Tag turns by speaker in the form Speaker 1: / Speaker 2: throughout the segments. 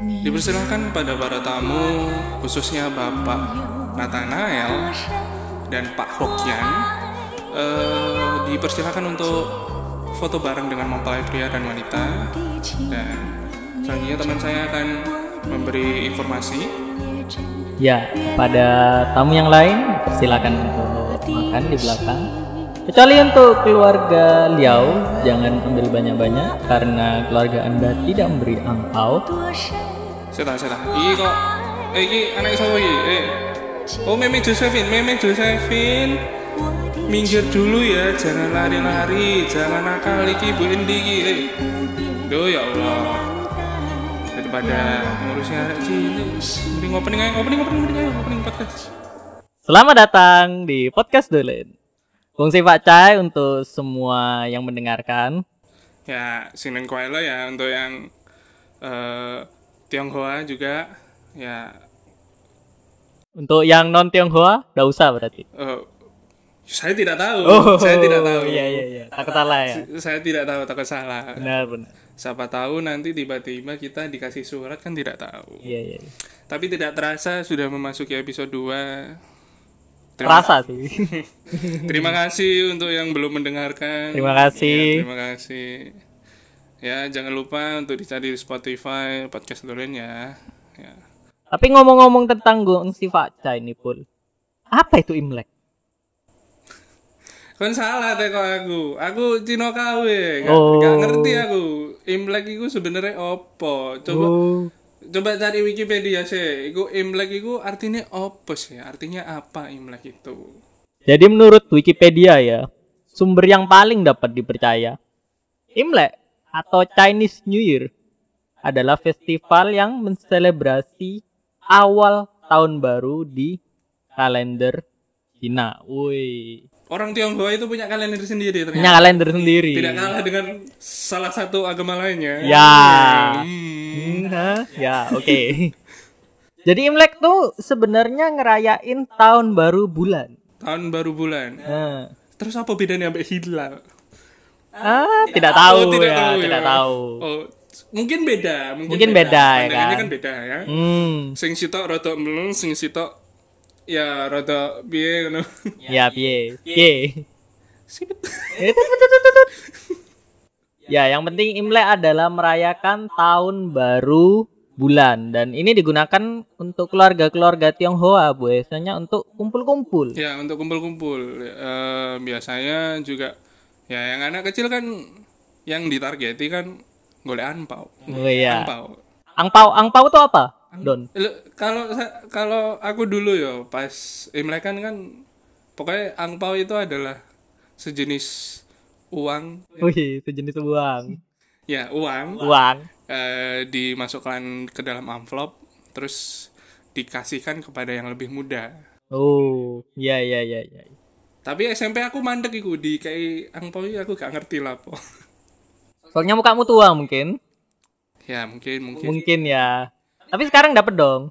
Speaker 1: Dipersilahkan pada para tamu, khususnya Bapak Nathanael dan Pak Hokyan, eh, dipersilahkan untuk foto bareng dengan mempelai pria dan wanita. Dan selanjutnya teman saya akan memberi informasi.
Speaker 2: Ya, kepada tamu yang lain silakan untuk makan di belakang. Kecuali untuk keluarga Liao, jangan ambil banyak-banyak karena keluarga Anda tidak memberi angpau.
Speaker 1: Saya tahu, saya tahu. Iki kok, eh, iki anak siapa iki? Eh, oh Meme Josephine, Meme Josephine. Minggir dulu ya, jangan lari-lari, jangan nakal iki Bu Indi iki. Eh. Duh ya Allah. Daripada ngurusin anak cilik, mending opening aja, opening opening mending ayo, opening podcast.
Speaker 2: Selamat datang di podcast Dolen. Kongsi Pak Cai untuk semua yang mendengarkan.
Speaker 1: Ya, Sinen Kuailo ya untuk yang eh, Tionghoa juga ya
Speaker 2: Untuk yang non Tionghoa, nggak usah berarti.
Speaker 1: eh, saya tidak tahu, Oh. saya tidak tahu.
Speaker 2: Iya iya iya, takut salah ya.
Speaker 1: Saya tidak tahu takut salah.
Speaker 2: Benar benar.
Speaker 1: Siapa tahu nanti tiba-tiba kita dikasih surat kan tidak tahu.
Speaker 2: Iya iya. iya.
Speaker 1: Tapi tidak terasa sudah memasuki episode 2. Terima,
Speaker 2: Terasa sih.
Speaker 1: terima kasih untuk yang belum mendengarkan.
Speaker 2: Terima kasih.
Speaker 1: Iya, Terima kasih. Ya, jangan lupa untuk dicari di Spotify podcast Dolen ya. Ya.
Speaker 2: Tapi ngomong-ngomong tentang Gongsi Pak Cai ini pun. Apa itu Imlek?
Speaker 1: Kan salah teko aku. Aku Cino KW. Gak,
Speaker 2: Oh.
Speaker 1: gak ngerti aku. Imlek itu sebenarnya opo. Coba
Speaker 2: Oh.
Speaker 1: Coba cari Wikipedia sih. Iku Imlek iku artinya apa sih? Artinya apa Imlek itu?
Speaker 2: Jadi menurut Wikipedia ya, sumber yang paling dapat dipercaya, Imlek atau Chinese New Year adalah festival yang menselebrasi awal tahun baru di kalender Cina. Woi,
Speaker 1: Orang Tionghoa itu punya kalender sendiri
Speaker 2: punya
Speaker 1: ternyata.
Speaker 2: kalender sendiri.
Speaker 1: Tidak kalah dengan salah satu agama lainnya.
Speaker 2: Ya.
Speaker 1: Hmm.
Speaker 2: Hmm, hah? Ya, oke. Jadi Imlek tuh sebenarnya ngerayain tahun baru bulan.
Speaker 1: Tahun baru bulan.
Speaker 2: Nah.
Speaker 1: Terus apa bedanya sampai hilal?
Speaker 2: Ah, tidak tahu
Speaker 1: Oh,
Speaker 2: ya, tidak
Speaker 1: ya.
Speaker 2: tahu.
Speaker 1: Oh, mungkin beda, mungkin,
Speaker 2: Mungkin beda, ya
Speaker 1: Pandangannya
Speaker 2: kan?
Speaker 1: kan beda ya.
Speaker 2: Hmm,
Speaker 1: Sing sitok rada meleng, sing sitok ya rada piye ngono.
Speaker 2: ya, piye. Piye.
Speaker 1: Sipit.
Speaker 2: Ya, yang penting Imlek adalah merayakan tahun baru bulan dan ini digunakan untuk keluarga-keluarga Tionghoa biasanya untuk kumpul-kumpul.
Speaker 1: Ya untuk kumpul-kumpul Eh, biasanya juga ya yang anak kecil kan yang ditargeti kan golek anpau.
Speaker 2: Oh iya.
Speaker 1: Anpau.
Speaker 2: Angpau, angpau itu apa? Don.
Speaker 1: Lo- Kalau sa- kalau aku dulu yo pas Imlek kan kan pokoknya angpau itu adalah sejenis uang
Speaker 2: Wih, sejenis uang.
Speaker 1: ya uang
Speaker 2: Uang.
Speaker 1: eh, dimasukkan ke dalam amplop terus dikasihkan kepada yang lebih muda.
Speaker 2: Oh, iya iya iya iya.
Speaker 1: Tapi SMP aku mandek iku di kayak angpau iki aku gak ngerti lah po.
Speaker 2: Soalnya mukamu tua mungkin.
Speaker 1: ya mungkin mungkin
Speaker 2: Mungkin ya. Tapi sekarang dapat dong.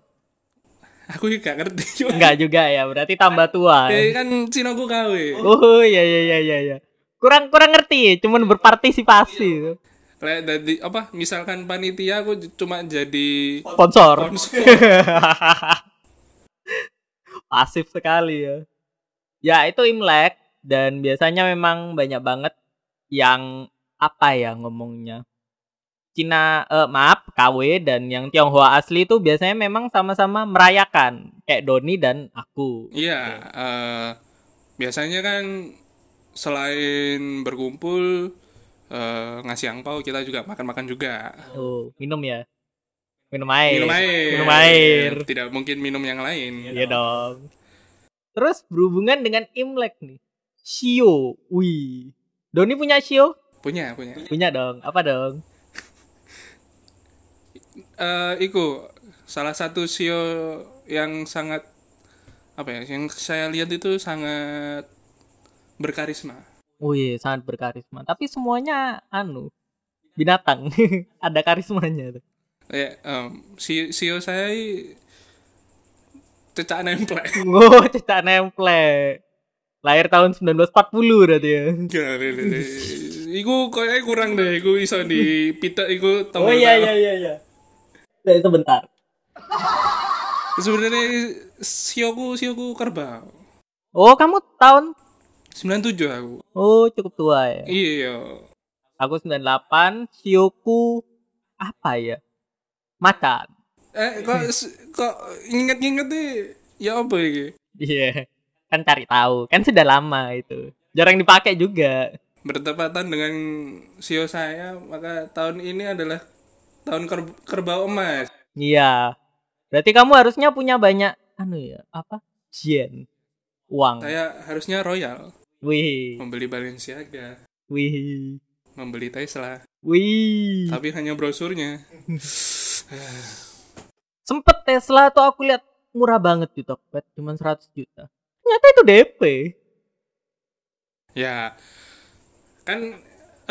Speaker 1: Aku juga gak ngerti cuma
Speaker 2: Enggak juga ya, berarti tambah tua.
Speaker 1: ya, kan Cina aku gawe.
Speaker 2: Oh, iya iya iya iya iya. Kurang kurang ngerti, cuman berpartisipasi.
Speaker 1: Lek dadi apa misalkan panitia aku j- cuma jadi
Speaker 2: Sponsor.
Speaker 1: sponsor.
Speaker 2: Pasif sekali ya. Ya, itu Imlek dan biasanya memang banyak banget yang apa ya ngomongnya. Cina eh, maaf, KW dan yang Tionghoa asli itu biasanya memang sama-sama merayakan kayak Doni dan aku.
Speaker 1: Iya, eh, biasanya kan selain berkumpul eh, ngasih angpau kita juga makan-makan juga.
Speaker 2: Tuh, minum ya. Minum air.
Speaker 1: Minum air.
Speaker 2: Eh,
Speaker 1: Iya,
Speaker 2: Minum air.
Speaker 1: Tidak mungkin minum yang lain.
Speaker 2: Iya dong. Terus berhubungan dengan Imlek nih. Shio. Wih. Doni punya Shio?
Speaker 1: Punya, punya.
Speaker 2: Punya dong. Apa dong?
Speaker 1: Eh, iku salah satu sio yang sangat apa ya, yang saya lihat itu sangat berkarisma.
Speaker 2: Wih, sangat berkarisma. Tapi semuanya anu binatang. Ada karismanya tuh.
Speaker 1: Ya, em, si sio saya i- cecak nemplek.
Speaker 2: Oh, cecak nemplek. Lahir tahun 1940 berarti ya.
Speaker 1: Ya, le- le- le. Iku Oh,
Speaker 2: Oh,
Speaker 1: kayaknya kurang deh, iku iso di pita iku
Speaker 2: iya iya iya. Sebentar.
Speaker 1: Sebenarnya sioku sioku kerbau.
Speaker 2: Oh, kamu tahun
Speaker 1: 97 aku.
Speaker 2: Oh, cukup tua ya.
Speaker 1: Iya.
Speaker 2: Aku 98, Shioku apa ya? Macan.
Speaker 1: Eh kok s- kok inget-inget deh. Ya apa iki?
Speaker 2: Iya. Kan cari tahu, kan sudah lama itu. Jarang dipakai juga.
Speaker 1: Bertepatan dengan sio saya, maka tahun ini adalah tahun ker- kerbau emas.
Speaker 2: Iya. Berarti kamu harusnya punya banyak anu ya, apa? Jen. Uang.
Speaker 1: Saya harusnya royal,
Speaker 2: Wih.
Speaker 1: membeli Balenciaga,
Speaker 2: Wih.
Speaker 1: membeli Tesla,
Speaker 2: Wih.
Speaker 1: tapi hanya brosurnya.
Speaker 2: Sempet Tesla tuh aku lihat murah banget di Tokped, cuman 100 juta. Ternyata itu DP.
Speaker 1: Ya, kan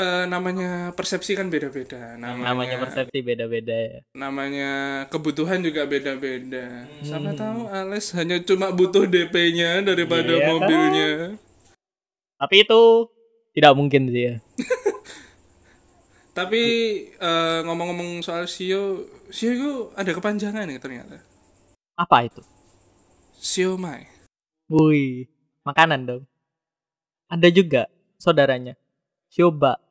Speaker 1: eh, namanya persepsi kan beda-beda. Namanya,
Speaker 2: Namanya persepsi beda-beda ya.
Speaker 1: namanya kebutuhan juga beda-beda.
Speaker 2: Hmm.
Speaker 1: Sama tahu Ales hanya cuma butuh DP-nya daripada
Speaker 2: Iya kan?
Speaker 1: mobilnya.
Speaker 2: Tapi itu tidak mungkin sih ya.
Speaker 1: Tapi eh, ngomong-ngomong soal Sio, Sio itu ada kepanjangan ya ternyata.
Speaker 2: Apa itu?
Speaker 1: Sio Mai.
Speaker 2: Wih, makanan dong. Ada juga saudaranya. Coba.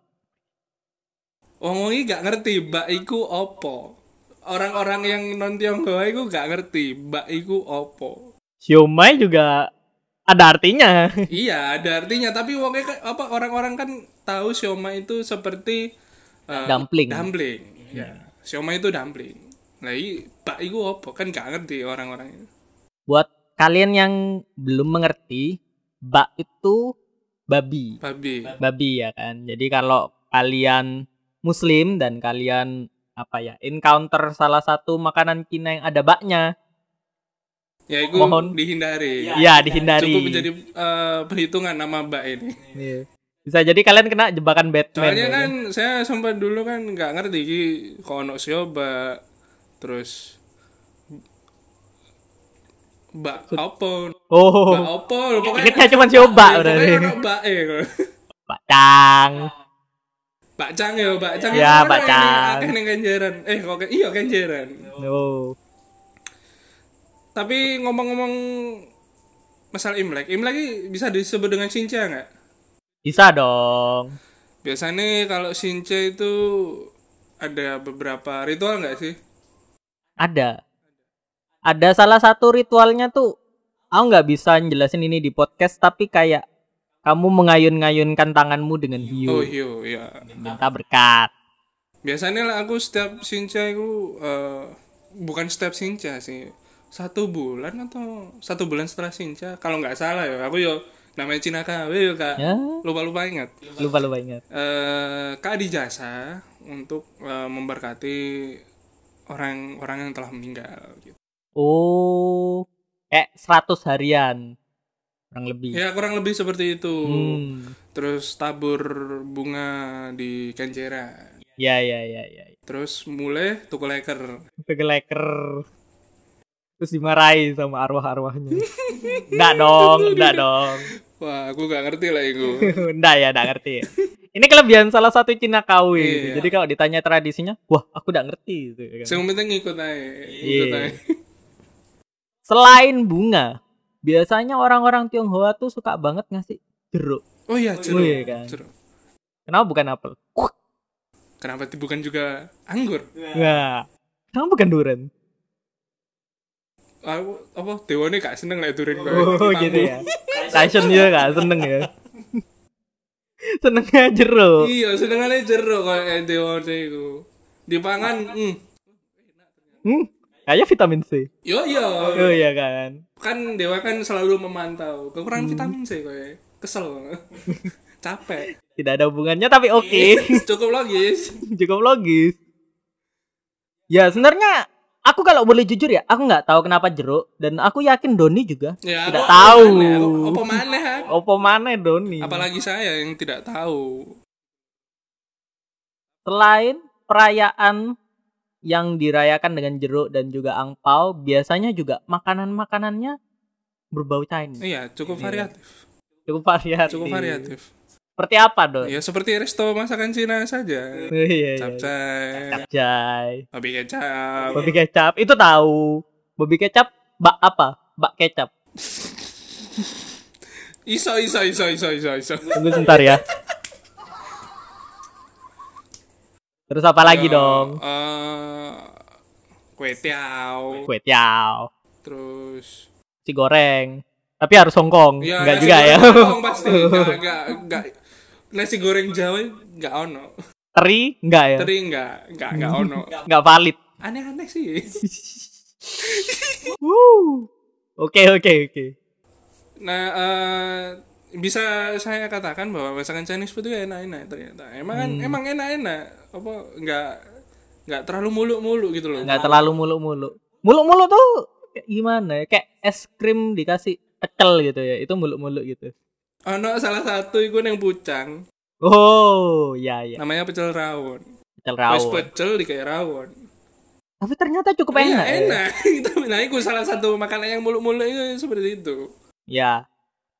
Speaker 1: Wong iki gak ngerti mbak iku opo. Orang-orang yang non Tionghoa iku gak ngerti mbak iku opo.
Speaker 2: Siomay juga ada artinya.
Speaker 1: iya, ada artinya tapi wonge kan- apa orang-orang kan tahu siomay itu seperti eh,
Speaker 2: Dumpling. Hmm.
Speaker 1: Dumpling. Ya. Siomay itu dumpling. Lah i mbak iku opo kan gak ngerti orang-orang itu.
Speaker 2: Buat kalian yang belum mengerti, bak itu babi.
Speaker 1: Babi.
Speaker 2: Babi ya kan. Jadi kalau kalian muslim dan kalian apa ya, encounter salah satu makanan Cina yang ada baknya,
Speaker 1: Ya iku
Speaker 2: Mohon.
Speaker 1: dihindari.
Speaker 2: ya dihindari.
Speaker 1: Iya, Cukup menjadi eh, perhitungan nama mbak ini.
Speaker 2: Iya. Bisa jadi kalian kena jebakan Batman.
Speaker 1: Soalnya
Speaker 2: ya
Speaker 1: kan saya sempat dulu kan nggak ngerti ki kono sioba terus mbak opo mbak
Speaker 2: Oh,
Speaker 1: opo lho, pokoknya Iya,
Speaker 2: ingetnya cuma coba
Speaker 1: pokoknya
Speaker 2: berarti.
Speaker 1: ono mbak e kok.
Speaker 2: Bacang.
Speaker 1: mbak cang ya mbak cang
Speaker 2: Iya,
Speaker 1: Ono
Speaker 2: Mbak
Speaker 1: yang
Speaker 2: Cang.
Speaker 1: akeh ning kenjeran eh kok ke- iya kenjeran
Speaker 2: No.
Speaker 1: tapi ngomong-ngomong masalah imlek imlek ini bisa disebut dengan sinca nggak
Speaker 2: Bisa dong.
Speaker 1: biasanya kalau sinca itu ada beberapa ritual nggak sih
Speaker 2: Ada. Ada salah satu ritualnya tuh. Aku nggak bisa jelasin ini di podcast, tapi kayak kamu mengayun-ngayunkan tanganmu dengan
Speaker 1: oh
Speaker 2: hiu.
Speaker 1: iya iya
Speaker 2: Minta berkat.
Speaker 1: Biasanya lah aku setiap sinca itu eh, bukan setiap sinca sih satu bulan atau satu bulan setelah sinca kalau nggak salah ya aku yo namanya Cina KW yo kak
Speaker 2: Ya,
Speaker 1: lupa lupa ingat
Speaker 2: lupa-lupa ingat.
Speaker 1: eh kak dijasa untuk eh, memberkati orang-orang yang telah meninggal gitu.
Speaker 2: Oh, kayak 100 harian. Kurang lebih.
Speaker 1: ya kurang lebih seperti itu
Speaker 2: Hmm.
Speaker 1: terus tabur bunga di kenjera
Speaker 2: Ya, ya, ya, ya.
Speaker 1: terus mulai tuku leker
Speaker 2: Tegeleker. Terus dimarahi sama arwah-arwahnya. Enggak dong, enggak dong.
Speaker 1: wah aku nggak ngerti lah itu
Speaker 2: Enggak ya, enggak ngerti. ya. Ini kelebihan salah satu Cina KW. gitu.
Speaker 1: Iya.
Speaker 2: Jadi kalau ditanya tradisinya, wah aku enggak ngerti. gitu ya kan.
Speaker 1: Yang penting ngikut aja, ngikut
Speaker 2: Iya.
Speaker 1: aja.
Speaker 2: Selain bunga, biasanya orang-orang Tionghoa tuh suka banget ngasih jeruk.
Speaker 1: Oh iya, jeruk.
Speaker 2: iya kan.
Speaker 1: Jeruk.
Speaker 2: Kenapa bukan apel? Kuak.
Speaker 1: Kenapa ti- bukan juga anggur?
Speaker 2: Nah, kenapa bukan duren?
Speaker 1: Aku Ah, apa dewane gak seneng lek durian kowe.
Speaker 2: Oh gitu ya. Fashion juga kan, seneng ya. Senengnya jeruk.
Speaker 1: Iya, senengane jeruk kok dewane iku. Dipangan, mm.
Speaker 2: Hmm, kayak vitamin C.
Speaker 1: Yo yo.
Speaker 2: Oh iya kan.
Speaker 1: Kan dewa kan selalu memantau kekurangan
Speaker 2: Hmm.
Speaker 1: vitamin C kowe. Kesel. Capek.
Speaker 2: Tidak ada hubungannya tapi oke.
Speaker 1: Cukup logis.
Speaker 2: cukup logis. Ya sebenarnya aku kalau boleh jujur ya, aku nggak tahu kenapa jeruk dan aku yakin Doni juga.
Speaker 1: Ya,
Speaker 2: Tidak
Speaker 1: aku-
Speaker 2: tahu. Iya.
Speaker 1: aku maneh, aku- Apa maneh? aku.
Speaker 2: Opo mana Doni?
Speaker 1: Apalagi saya yang tidak tahu.
Speaker 2: Selain perayaan yang dirayakan dengan jeruk dan juga angpau, biasanya juga makanan-makanannya berbau Chinese.
Speaker 1: Iya, cukup variatif.
Speaker 2: Iya. Cukup variatif. Iya.
Speaker 1: Cukup variatif.
Speaker 2: Seperti apa, Don?
Speaker 1: Ya seperti resto masakan Cina saja.
Speaker 2: Oh, iya, iya.
Speaker 1: Capcay,
Speaker 2: Capcay.
Speaker 1: babi kecap.
Speaker 2: Babi kecap itu tahu. Babi kecap bak apa? Bak kecap.
Speaker 1: Iso iso iso iso iso iso.
Speaker 2: Tunggu sebentar ya. Terus apa lagi dong?
Speaker 1: Eh, kue tiao.
Speaker 2: Kue tiao,
Speaker 1: Terus
Speaker 2: si goreng. Tapi harus Hongkong,
Speaker 1: Iya,
Speaker 2: enggak
Speaker 1: nasi
Speaker 2: juga ya.
Speaker 1: goreng Hongkong pasti enggak enggak enggak. Nasi goreng Jawa enggak ono.
Speaker 2: Teri enggak ya?
Speaker 1: Teri enggak enggak enggak ono.
Speaker 2: Enggak valid.
Speaker 1: Aneh-aneh sih.
Speaker 2: Wuh. Oke, oke, oke.
Speaker 1: Nah, eh, bisa saya katakan bahwa masakan Chinese food itu enak-enak ternyata. Emang kan-
Speaker 2: Hmm.
Speaker 1: emang enak-enak. Apa enggak enggak terlalu muluk-muluk gitu loh.
Speaker 2: Enggak terlalu muluk-muluk. Muluk-muluk tuh kayak gimana ya? Kayak es krim dikasih pecel gitu ya. Itu muluk-muluk gitu.
Speaker 1: Ono salah satu iku yang pucang,
Speaker 2: Oh, ya ya.
Speaker 1: namanya pecel rawon.
Speaker 2: Pecel
Speaker 1: Wes
Speaker 2: rawon.
Speaker 1: pecel dikayak rawon.
Speaker 2: Tapi ternyata cukup
Speaker 1: Iya,
Speaker 2: enak. ya.
Speaker 1: enak. Tapi nah iku salah satu makanan yang muluk-muluk itu seperti itu.
Speaker 2: Ya.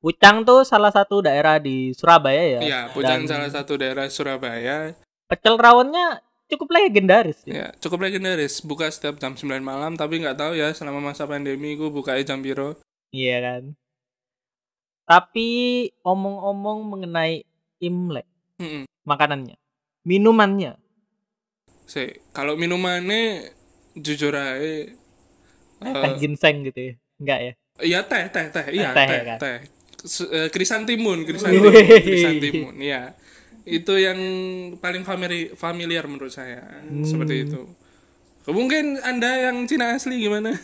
Speaker 2: Pucang tuh salah satu daerah di Surabaya ya.
Speaker 1: Iya, Pucang
Speaker 2: Dan
Speaker 1: salah satu daerah Surabaya.
Speaker 2: Pecel rawonnya cukup legendaris.
Speaker 1: Ya,
Speaker 2: Ya.
Speaker 1: cukup legendaris. Buka setiap jam 9 malam, tapi nggak tahu ya selama masa pandemi gue buka jam piro.
Speaker 2: Iya kan. Tapi omong-omong mengenai Imlek,
Speaker 1: Mm-mm.
Speaker 2: makanannya, minumannya.
Speaker 1: Sih, kalau minumannya jujur aja Eh.
Speaker 2: teh ginseng gitu ya. Enggak ya?
Speaker 1: Iya teh teh teh iya
Speaker 2: Teh,
Speaker 1: teh
Speaker 2: ya
Speaker 1: teh,
Speaker 2: kan?
Speaker 1: S- eh, krisantimun krisantimun
Speaker 2: Wih.
Speaker 1: krisantimun iya itu yang paling famili- familiar menurut saya
Speaker 2: Hmm.
Speaker 1: seperti itu mungkin anda yang Cina asli gimana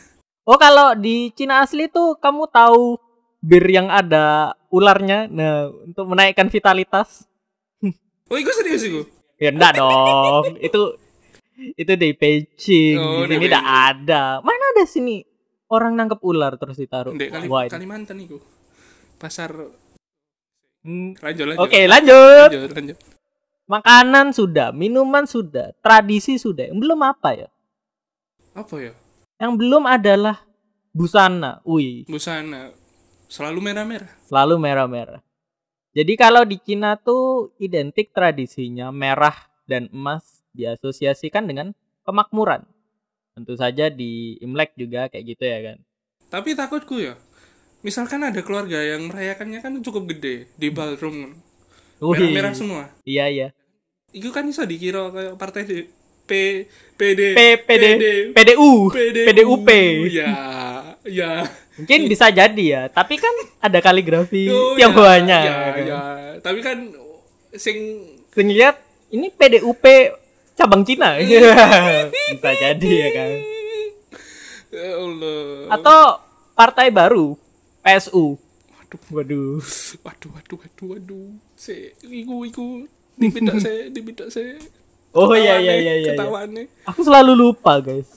Speaker 2: Oh, kalau di Cina asli tuh kamu tahu bir yang ada ularnya. Nah, untuk menaikkan vitalitas.
Speaker 1: oh itu serius itu
Speaker 2: Ya enggak dong. itu itu di Beijing.
Speaker 1: Oh, di
Speaker 2: di sini enggak
Speaker 1: Beijing.
Speaker 2: ada. Mana ada sini orang nangkep ular terus ditaruh.
Speaker 1: Ndek, Kali-
Speaker 2: Oh, Wah, ini-
Speaker 1: Kalimantan itu pasar
Speaker 2: Hmm.
Speaker 1: lanjut lanjut
Speaker 2: Oke, lanjut.
Speaker 1: lanjut lanjut
Speaker 2: Makanan sudah, minuman sudah, tradisi sudah. Yang belum apa ya?
Speaker 1: apa ya
Speaker 2: Yang belum adalah busana. Wih,
Speaker 1: busana selalu merah merah
Speaker 2: selalu merah-merah. Jadi kalau di Cina tuh identik tradisinya merah dan emas diasosiasikan dengan kemakmuran. Tentu saja di Imlek juga kayak gitu ya kan.
Speaker 1: tapi takutku ya misalkan ada keluarga yang merayakannya kan cukup gede di ballroom merah
Speaker 2: Wih,
Speaker 1: merah semua
Speaker 2: Iya iya.
Speaker 1: Iku kan iso dikira kayak partai di P PD
Speaker 2: P- PD PDU PDUP.
Speaker 1: Ya, ya.
Speaker 2: Mungkin bisa jadi ya, tapi kan ada kaligrafi
Speaker 1: Oh,
Speaker 2: yang
Speaker 1: ya,
Speaker 2: banyak.
Speaker 1: Ya,
Speaker 2: kan.
Speaker 1: ya. Tapi kan sing
Speaker 2: Sing lihat ini PDUP cabang Cina. bisa jadi ya kan.
Speaker 1: Ya Allah.
Speaker 2: Atau partai baru PSU. Waduh.
Speaker 1: Waduh, waduh, waduh, waduh. Se, iku, iku. Dibidak se, dibidak se.
Speaker 2: Oh iya iya
Speaker 1: Ketawane,
Speaker 2: iya iya. iya.
Speaker 1: Ketawane.
Speaker 2: Aku selalu lupa, guys.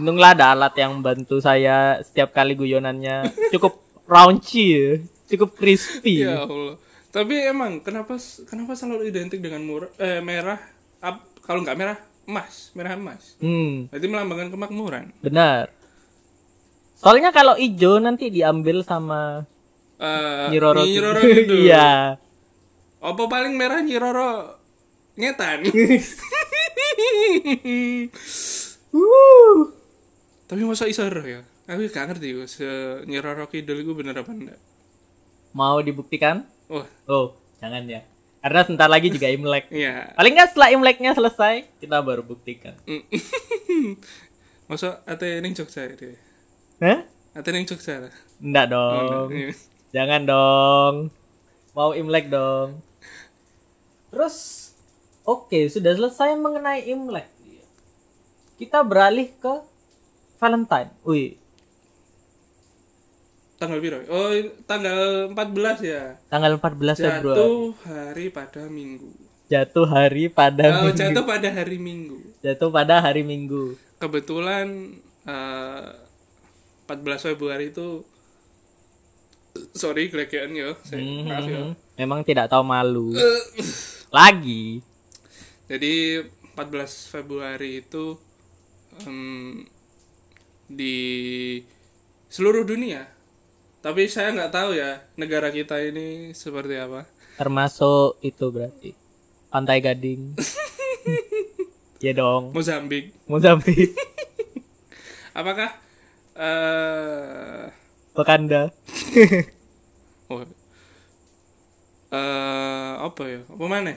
Speaker 2: Untunglah ada alat yang bantu saya setiap kali guyonannya cukup raunchy, ya. cukup crispy.
Speaker 1: Ya Allah. Tapi emang kenapa kenapa selalu identik dengan murah eh, merah? Ap- kalau nggak merah, emas, merah emas.
Speaker 2: Hmm,
Speaker 1: Berarti melambangkan kemakmuran.
Speaker 2: benar. Soalnya kalau ijo nanti diambil sama
Speaker 1: Eh,
Speaker 2: Nyiroro. Kidul.
Speaker 1: Nyiroro gitu.
Speaker 2: Iya.
Speaker 1: Apa paling merah Nyiroro ngetan.
Speaker 2: Wuh.
Speaker 1: Tapi masa isoro ya? Aku gak ngerti gue se Nyiroro Kidul itu bener apa enggak.
Speaker 2: Mau dibuktikan?
Speaker 1: Oh,
Speaker 2: Oh, jangan ya. Karena sebentar lagi juga Imlek.
Speaker 1: iya.
Speaker 2: Paling nggak setelah Imleknya selesai, kita baru buktikan.
Speaker 1: Mm. Masa ate ning Jogja deh.
Speaker 2: Hah?
Speaker 1: Ate ning Jogja lah. Oh,
Speaker 2: Enggak dong.
Speaker 1: iya.
Speaker 2: Jangan dong. Mau Imlek dong. Terus oke, sudah selesai mengenai Imlek. Kita beralih ke Valentine. Wih,
Speaker 1: Tanggal piro? Oh, tanggal 14 ya.
Speaker 2: tanggal 14 Februari.
Speaker 1: Jatuh hari pada Minggu.
Speaker 2: Jatuh hari pada
Speaker 1: Oh,
Speaker 2: minggu.
Speaker 1: jatuh pada hari Minggu.
Speaker 2: Jatuh pada hari Minggu.
Speaker 1: kebetulan eh, 14 Februari itu sorry kelekean ya saya maaf ya
Speaker 2: Mhm. Memang tidak tahu malu.
Speaker 1: Eh,
Speaker 2: Lagi.
Speaker 1: jadi 14 Februari itu em, di seluruh dunia tapi saya nggak tahu ya negara kita ini seperti apa
Speaker 2: termasuk itu berarti Pantai Gading. ya dong,
Speaker 1: Mozambik.
Speaker 2: Mozambik,
Speaker 1: Apakah eh
Speaker 2: Wakanda.
Speaker 1: oh, eh, apa ya? Apa mana?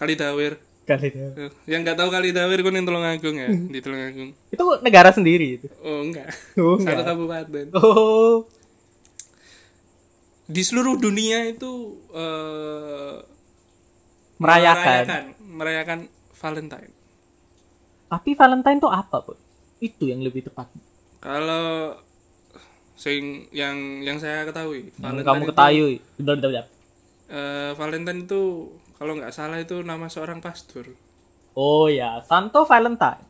Speaker 1: Kalidawir.
Speaker 2: Kali dia.
Speaker 1: Eh, Yang nggak tahu Kalidawir kan yang Tulungagung ya,
Speaker 2: Hmm.
Speaker 1: di Tulungagung.
Speaker 2: Itu negara sendiri itu.
Speaker 1: Oh, enggak.
Speaker 2: Oh,
Speaker 1: Satu
Speaker 2: enggak.
Speaker 1: kabupaten.
Speaker 2: Oh,
Speaker 1: Di seluruh dunia itu eh
Speaker 2: merayakan.
Speaker 1: merayakan Valentine.
Speaker 2: Tapi Valentine tuh apa, Bud? Itu yang lebih tepat.
Speaker 1: Kalau sing yang yang saya ketahui,
Speaker 2: Yang
Speaker 1: Valentine
Speaker 2: kamu
Speaker 1: itu-
Speaker 2: ketahui. Udah, udah, udah.
Speaker 1: eh, Valentine itu kalau nggak salah itu nama seorang pastor.
Speaker 2: Oh ya, Santo Valentine.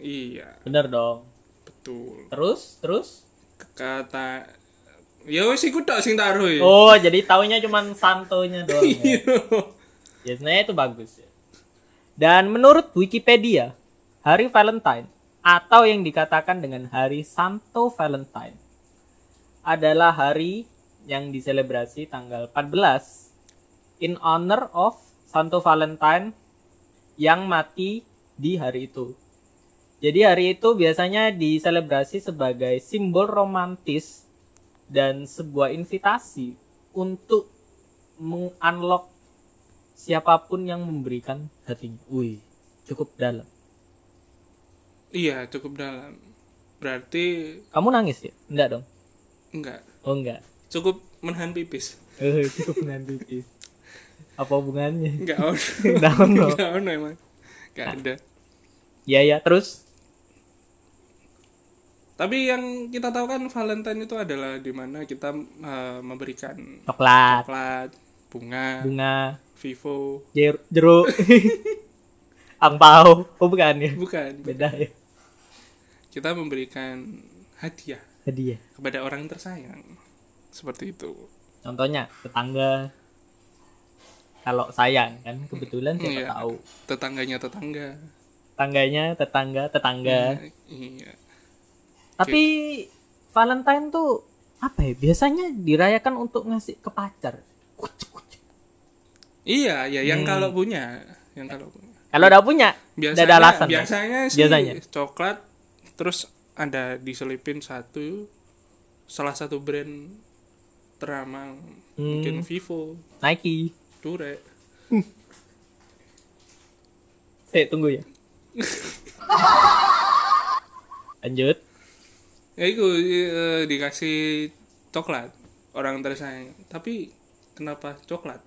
Speaker 1: Iya,
Speaker 2: Bener dong.
Speaker 1: betul.
Speaker 2: Terus, terus.
Speaker 1: Kata ya wis iku tok sing taruh ya.
Speaker 2: Oh, jadi taunya cuman santonya doang.
Speaker 1: Iya.
Speaker 2: Ya. Ya, sebenarnya itu bagus. ya. Dan menurut Wikipedia, Hari Valentine atau yang dikatakan dengan Hari Santo Valentine adalah hari yang diselebrasi tanggal 14 in honor of Santo Valentine yang mati di hari itu. Jadi hari itu biasanya diselebrasi sebagai simbol romantis dan sebuah invitasi untuk mengunlock siapapun yang memberikan hatinya. Wih, cukup dalam.
Speaker 1: Iya, cukup dalam. Berarti
Speaker 2: Kamu nangis ya? Enggak dong.
Speaker 1: enggak
Speaker 2: Oh enggak.
Speaker 1: cukup menahan pipis.
Speaker 2: Eh, cukup nanti. Apa hubungannya?
Speaker 1: Enggak ono.
Speaker 2: Enggak ono.
Speaker 1: Enggak ono emang. Enggak ada.
Speaker 2: Ya ya, terus
Speaker 1: Tapi yang kita tahu kan Valentine itu adalah di mana kita eh, memberikan
Speaker 2: coklat,
Speaker 1: coklat, bunga,
Speaker 2: bunga,
Speaker 1: vivo,
Speaker 2: jer- jeruk, angpau. Oh bukan ya.
Speaker 1: bukan.
Speaker 2: Beda ya.
Speaker 1: Kita memberikan hadiah.
Speaker 2: Hadiah.
Speaker 1: kepada orang tersayang seperti itu
Speaker 2: Contohnya tetangga. Kalau sayang kan kebetulan siapa
Speaker 1: Iya.
Speaker 2: tahu
Speaker 1: tetangganya tetangga
Speaker 2: tangganya tetangga tetangga.
Speaker 1: iya
Speaker 2: Tapi Valentine tuh apa ya? Biasanya dirayakan untuk ngasih ke pacar.
Speaker 1: iya ya yang kalau punya yang kalau punya
Speaker 2: Kalau udah punya, udah ada alasan. ya?
Speaker 1: biasanya sih
Speaker 2: Biasanya.
Speaker 1: coklat terus ada diselipin satu salah satu brand teramang mungkin Vivo
Speaker 2: Hmm, Nike.
Speaker 1: Dure
Speaker 2: Eh, tunggu ya. Lanjut.
Speaker 1: ya itu eh, dikasih coklat orang tersayang tapi kenapa coklat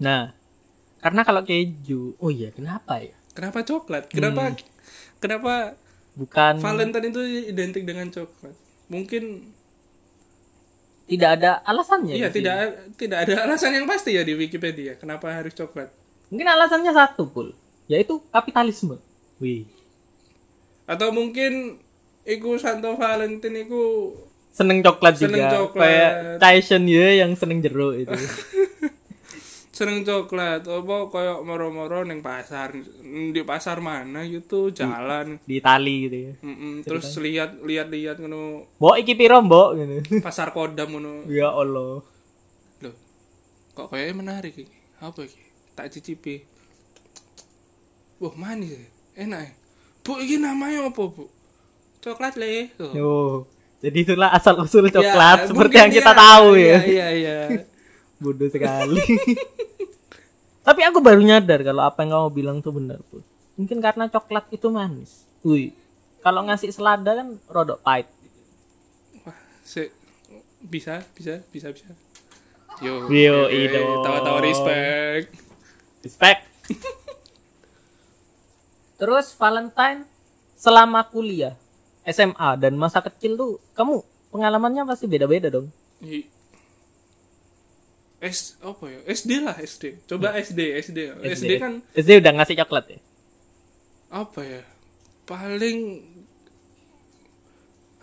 Speaker 2: Nah, karena kalau keju, oh iya, kenapa ya?
Speaker 1: kenapa coklat kenapa
Speaker 2: Hmm.
Speaker 1: kenapa
Speaker 2: Bukan
Speaker 1: Valentine itu identik dengan coklat. Mungkin
Speaker 2: tidak ada alasannya.
Speaker 1: iya
Speaker 2: di
Speaker 1: tidak
Speaker 2: sini.
Speaker 1: tidak ada alasan yang pasti ya di Wikipedia kenapa harus coklat.
Speaker 2: Mungkin alasannya satu, Pul, yaitu kapitalisme. Wih.
Speaker 1: Atau mungkin iku Santo Valentine iku
Speaker 2: Seneng coklat
Speaker 1: Seneng
Speaker 2: juga.
Speaker 1: coklat.
Speaker 2: Kayak Tyson ya yang seneng jeruk itu.
Speaker 1: seneng coklat apa koyok moro-moro ning pasar di pasar mana
Speaker 2: Hmm.
Speaker 1: gitu jalan
Speaker 2: di Itali gitu ya.
Speaker 1: Mm-mm, terus lihat lihat-lihat ngono
Speaker 2: Mbok iki piro, Mbok gitu.
Speaker 1: pasar kodam ngono
Speaker 2: Ya Allah.
Speaker 1: loh kok kayaknya menarik ini apa ini tak cicipi wah manis ya enak ya bu ini namanya apa bu coklat le Tuh.
Speaker 2: Yo. Jadi itulah asal usul
Speaker 1: Ya,
Speaker 2: coklat seperti
Speaker 1: mungkin
Speaker 2: yang kita
Speaker 1: ya.
Speaker 2: tahu ya.
Speaker 1: iya iya iya
Speaker 2: Bodoh sekali. Tapi aku baru nyadar kalau apa yang kamu bilang tuh benar, Bud. Mungkin karena coklat itu manis. Wih. Kalau ngasih selada kan rodok pahit.
Speaker 1: wah se bisa bisa bisa bisa yo
Speaker 2: Yo,
Speaker 1: eh,
Speaker 2: Ido.
Speaker 1: tawa-tawa respect
Speaker 2: Respect. Terus Valentine selama kuliah SMA dan masa kecil tuh kamu pengalamannya pasti beda-beda dong.
Speaker 1: I- S apa ya SD lah SD coba
Speaker 2: Hmm.
Speaker 1: SD SD SD kan
Speaker 2: SD udah ngasih coklat ya.
Speaker 1: apa ya paling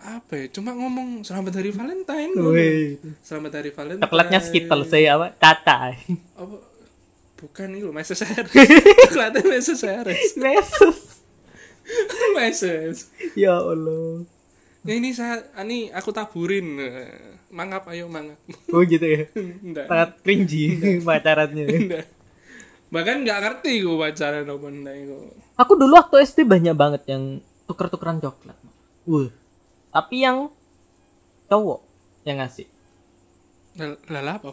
Speaker 1: apa ya cuma ngomong selamat hari Valentine
Speaker 2: Wih.
Speaker 1: selamat hari Valentine
Speaker 2: Coklatnya Skittles ya apa? Tata.
Speaker 1: apa bukan itu meses coklatnya meses
Speaker 2: Mesus.
Speaker 1: meses
Speaker 2: ya Allah.
Speaker 1: Ya, ini saya ini aku taburin. Mangap ayo mangap.
Speaker 2: Oh gitu ya.
Speaker 1: Enggak.
Speaker 2: Sangat cringy pacarannya.
Speaker 1: Enggak. Bahkan nggak ngerti gue pacaran apa enggak gue.
Speaker 2: Aku dulu waktu SD banyak banget yang tuker-tukeran coklat. Wuh. Tapi yang cowok yang ngasih.
Speaker 1: Lah- Lah apa?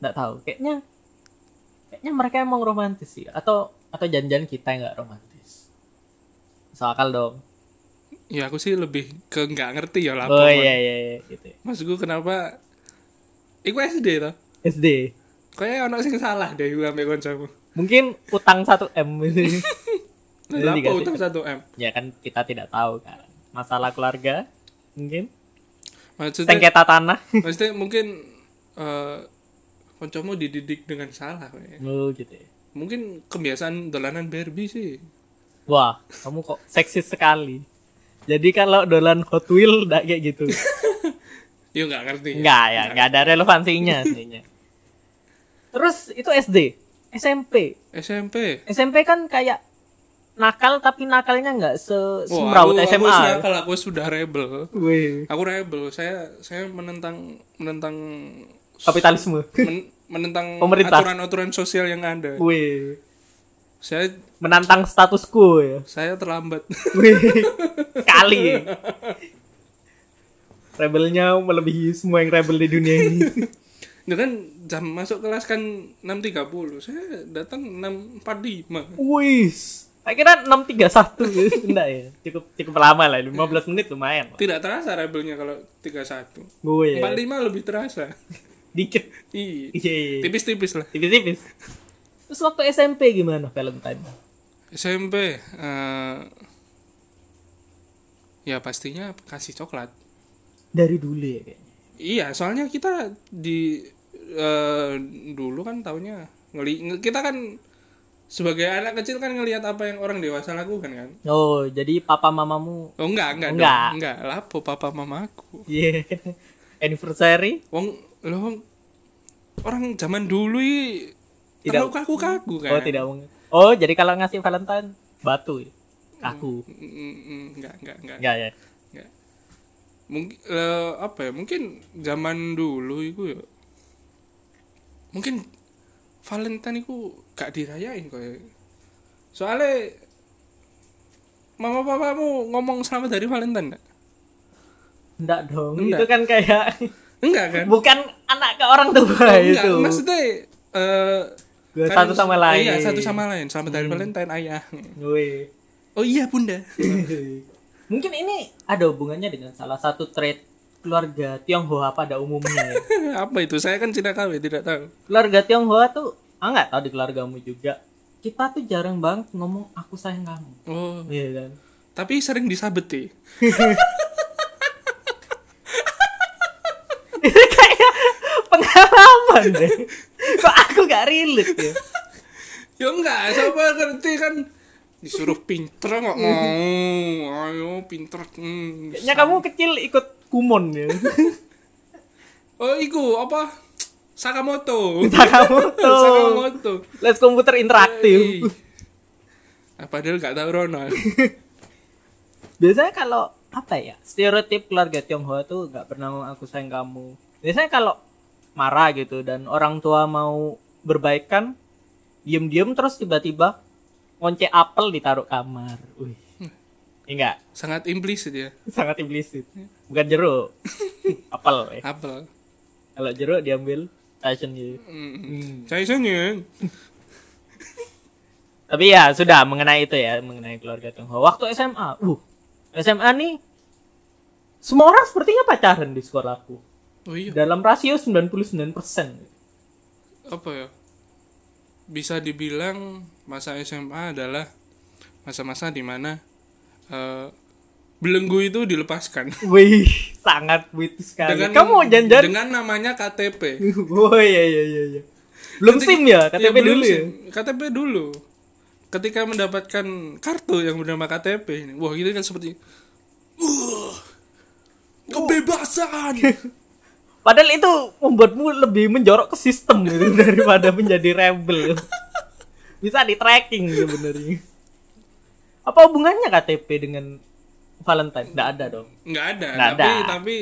Speaker 2: Nggak tahu. Kayaknya kayaknya mereka emang romantis sih atau atau janjian kita yang nggak romantis. Soal dong.
Speaker 1: Ya aku sih lebih ke nggak ngerti ya lah.
Speaker 2: oh
Speaker 1: apa.
Speaker 2: iya iya iya gitu. ya.
Speaker 1: Mas gue kenapa? Iku SD toh.
Speaker 2: SD.
Speaker 1: Kayaknya ono sing salah deh gue ambil koncomu.
Speaker 2: Mungkin utang 1M gitu.
Speaker 1: Lah
Speaker 2: Jadi
Speaker 1: apa
Speaker 2: dikasih.
Speaker 1: utang 1 M?
Speaker 2: ya kan kita tidak tahu kan. Masalah keluarga mungkin
Speaker 1: Maksudnya
Speaker 2: sengketa tanah.
Speaker 1: Maksudnya mungkin eh koncomu dididik dengan salah kayaknya.
Speaker 2: Oh gitu. ya.
Speaker 1: Mungkin kebiasaan dolanan Barbie sih.
Speaker 2: Wah, kamu kok seksis sekali. Jadi kalau dolan Hot Wheel enggak kayak gitu.
Speaker 1: Ya nggak ngerti. ya.
Speaker 2: Enggak ya, enggak ada relevansinya sebenarnya. Terus itu SD, SMP.
Speaker 1: SMP.
Speaker 2: SMP kan kayak nakal tapi nakalnya enggak se
Speaker 1: Wah, ya.
Speaker 2: semrawut
Speaker 1: aku- aku sudah-
Speaker 2: SMA.
Speaker 1: Kalau aku sudah rebel.
Speaker 2: Wih,
Speaker 1: Aku rebel. Saya saya menentang menentang
Speaker 2: kapitalisme.
Speaker 1: men- menentang
Speaker 2: Pemerintah.
Speaker 1: aturan-aturan sosial yang ada.
Speaker 2: Wih,
Speaker 1: Saya
Speaker 2: menantang status quo ya.
Speaker 1: saya terlambat.
Speaker 2: Wih, sekali. Rebelnya melebihi semua yang rebel di dunia ini.
Speaker 1: Ya kan jam masuk kelas kan 6.30. Saya datang 6.45.
Speaker 2: Wis. Saya kira 631 gitu. Enggak ya. Cukup cukup lama lah, 15 menit lumayan. lah.
Speaker 1: Tidak terasa rebelnya kalau 31.
Speaker 2: Gue ya.
Speaker 1: 45 lebih terasa.
Speaker 2: Dikit.
Speaker 1: Iya.
Speaker 2: Iya, iya. iya.
Speaker 1: tipis-tipis lah
Speaker 2: Tipis-tipis. Terus waktu SMP gimana Valentine?
Speaker 1: SMP eh, ya pastinya kasih coklat
Speaker 2: Dari dulu ya kayaknya.
Speaker 1: iya soalnya kita di eh, dulu kan taunya ngeli nge- kita kan sebagai anak kecil kan ngelihat apa yang orang dewasa lakukan kan
Speaker 2: Oh, jadi papa mamamu
Speaker 1: oh enggak enggak
Speaker 2: Enggak.
Speaker 1: dong. enggak lapo papa mama aku
Speaker 2: iya anniversary
Speaker 1: wong lo wong- orang zaman dulu i
Speaker 2: Tidak-
Speaker 1: terlalu kaku kaku kan
Speaker 2: Oh, tidak mungkin. Oh, jadi kalau ngasih Valentine batu ya. Kaku.
Speaker 1: Mm, mm, mm, enggak enggak enggak
Speaker 2: Enggak ya.
Speaker 1: mungkin apa ya mungkin zaman dulu itu ya mungkin Valentine itu gak dirayain kok ya. soalnya mama papamu ngomong selamat dari Valentine gak?
Speaker 2: Enggak dong.
Speaker 1: Enggak.
Speaker 2: Itu kan kayak
Speaker 1: enggak kan Oh,
Speaker 2: bukan anak ke orang tua
Speaker 1: enggak
Speaker 2: itu.
Speaker 1: maksudnya eh,
Speaker 2: Dua
Speaker 1: kan-
Speaker 2: satu sama lain. Hmm.
Speaker 1: iya satu sama lain selamat dari Valentine ayah
Speaker 2: Wih.
Speaker 1: oh iya bunda
Speaker 2: Mungkin ini ada hubungannya dengan salah satu trait keluarga Tionghoa pada umumnya ya.
Speaker 1: apa itu saya kan Cina KW tidak tahu
Speaker 2: Keluarga Tionghoa tuh, ah nggak tahu di keluargamu juga. Kita tuh jarang banget ngomong aku sayang kamu.
Speaker 1: oh
Speaker 2: Iya kan?
Speaker 1: tapi sering disabeti
Speaker 2: Itu kayak pengalaman deh. Kok aku nggak relate ya?
Speaker 1: Ya enggak, siapa ngerti kan disuruh pinter kok mau ayo pinter Hmm.
Speaker 2: Kayaknya kamu kecil ikut kumon ya.
Speaker 1: oh iku apa Sakamoto
Speaker 2: Kita kamu tuh.
Speaker 1: Sakamoto
Speaker 2: Les komputer
Speaker 1: Ih.
Speaker 2: interaktif.
Speaker 1: Nah, padahal gak tahu Ronald
Speaker 2: Biasanya kalau apa ya? Stereotip keluarga Tionghoa tuh nggak pernah ngomong aku sayang kamu. Biasanya kalau marah gitu dan orang tua mau berbaikan, diem-diem terus tiba-tiba ngonce apel ditaruh kamar. Wih. Enggak,
Speaker 1: sangat implisit ya
Speaker 2: sangat implisit. Bukan jeruk. apel. eh.
Speaker 1: apel
Speaker 2: Kalau jeruk diambil fashion gitu.
Speaker 1: Hmm. saya sanya
Speaker 2: Tapi ya sudah mengenai itu ya, mengenai keluarga Tionghoa. Waktu SMA, uh, SMA nih semua orang sepertinya pacaran di sekolahku.
Speaker 1: oh iya
Speaker 2: dalam rasio 99%.
Speaker 1: apa ya bisa dibilang masa SMA adalah masa-masa dimana eh, belenggu itu dilepaskan
Speaker 2: Wih, sangat wit sekali. Kamu mau janjian?
Speaker 1: dengan namanya KTP
Speaker 2: Oh iya iya iya iya. Belum
Speaker 1: Ketika-
Speaker 2: SIM ya, KTP
Speaker 1: Iya, belum
Speaker 2: dulu ya.
Speaker 1: SIM. KTP dulu. Ketika mendapatkan kartu yang bernama KTP ini, wah gitu kan seperti "Wah, kebebasan.
Speaker 2: Padahal itu membuatmu lebih menjorok ke sistem gitu, daripada menjadi rebel. Bisa di tracking sebenarnya. Apa hubungannya KTP dengan Valentine nggak ada dong
Speaker 1: nggak ada
Speaker 2: Nggak
Speaker 1: tapi
Speaker 2: ada.
Speaker 1: tapi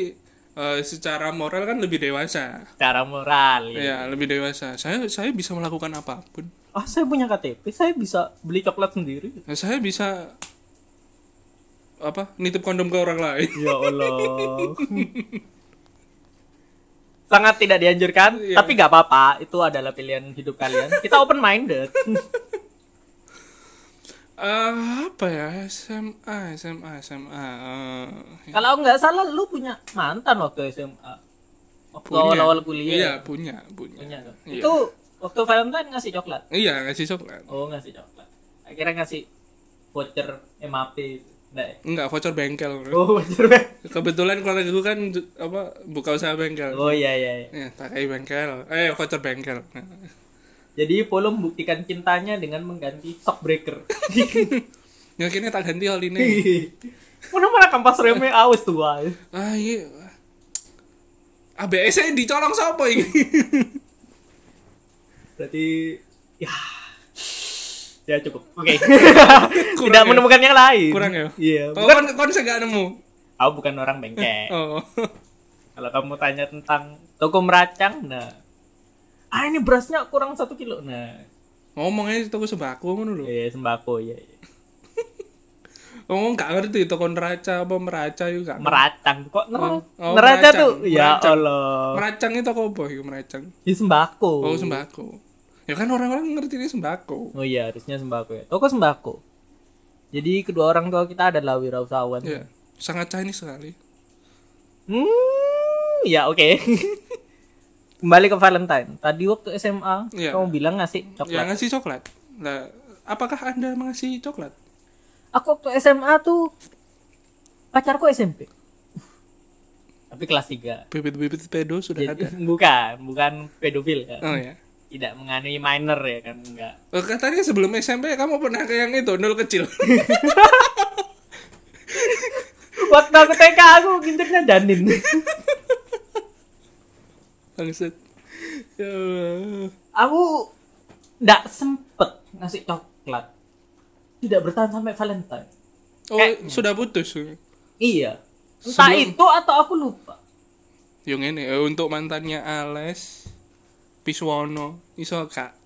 Speaker 1: eh, secara moral kan lebih dewasa
Speaker 2: cara moral ya.
Speaker 1: ya lebih dewasa saya saya bisa melakukan apapun
Speaker 2: ah saya punya KTP saya bisa beli coklat sendiri
Speaker 1: Nah, saya bisa apa nitip kondom ke orang lain
Speaker 2: ya Allah sangat tidak dianjurkan
Speaker 1: Iya.
Speaker 2: tapi nggak apa-apa itu adalah pilihan hidup kalian kita open minded
Speaker 1: Eh, apa ya SMA SMA SMA eh, ya.
Speaker 2: kalau nggak salah lu punya mantan waktu SMA waktu awal-awal kuliah
Speaker 1: iya punya punya,
Speaker 2: Punya nggak?
Speaker 1: Iya.
Speaker 2: itu waktu Valentine ngasih coklat
Speaker 1: iya ngasih coklat
Speaker 2: oh ngasih coklat akhirnya ngasih voucher MAP Nggak ya?
Speaker 1: enggak voucher bengkel bro.
Speaker 2: oh voucher
Speaker 1: kebetulan keluarga gue kan ju- apa buka usaha bengkel
Speaker 2: oh iya iya iya.
Speaker 1: ya pakai bengkel eh voucher bengkel Nah.
Speaker 2: jadi Polo membuktikan cintanya dengan mengganti shock breaker
Speaker 1: ya kini tak ganti hal ini
Speaker 2: mana mana kampas remnya aus tua
Speaker 1: ah iya ABS nya dicolong siapa ini
Speaker 2: berarti ya ya cukup oke
Speaker 1: Kurang
Speaker 2: tidak
Speaker 1: ya?
Speaker 2: menemukan yang lain
Speaker 1: kurang ya
Speaker 2: iya
Speaker 1: oh,
Speaker 2: bukan
Speaker 1: kon kon saya nggak nemu
Speaker 2: aku bukan orang bengkek
Speaker 1: oh
Speaker 2: kalau kamu tanya tentang toko meracang nah ah ini berasnya kurang satu kilo nah
Speaker 1: ngomongnya toko sembako ngono lho
Speaker 2: iya sembako ya
Speaker 1: ngomong nggak ngerti toko neraca apa meraca itu nggak ngerti.
Speaker 2: meracang kok nera-
Speaker 1: Oh,
Speaker 2: neraca
Speaker 1: meracang,
Speaker 2: tuh ya
Speaker 1: meracang.
Speaker 2: allah
Speaker 1: meracang itu toko apa itu meracang
Speaker 2: ya sembako
Speaker 1: oh sembako ya kan orang-orang ngerti ini sembako
Speaker 2: Oh iya harusnya sembako ya toko sembako jadi kedua orang tua kita adalah wirausahawan
Speaker 1: ya sangat Chinese sekali
Speaker 2: Hmm, ya oke. Kembali ke Valentine. Tadi waktu SMA
Speaker 1: Iya.
Speaker 2: kamu bilang ngasih
Speaker 1: ya
Speaker 2: coklat.
Speaker 1: ngasih coklat nah apakah anda mengasih coklat
Speaker 2: Aku waktu SMA tuh pacarku SMP. Tapi kelas 3.
Speaker 1: bibit-bibit pedo sudah ada
Speaker 2: bukan, bukan pedofil ya.
Speaker 1: oh ya
Speaker 2: Tidak menganui minor ya kan enggak.
Speaker 1: Oh, katanya sebelum SMP kamu pernah ke yang itu nol kecil
Speaker 2: Waktu aku TK aku kincirnya janin.
Speaker 1: Bangsat. Ya Allah.
Speaker 2: aku enggak sempet ngasih coklat. Tidak bertahan sampai Valentine.
Speaker 1: oh
Speaker 2: Eh.
Speaker 1: sudah putus
Speaker 2: Iya. Entah
Speaker 1: Sebelum-
Speaker 2: itu atau aku lupa.
Speaker 1: yang ini eh, untuk mantannya Ales Piswono iso kak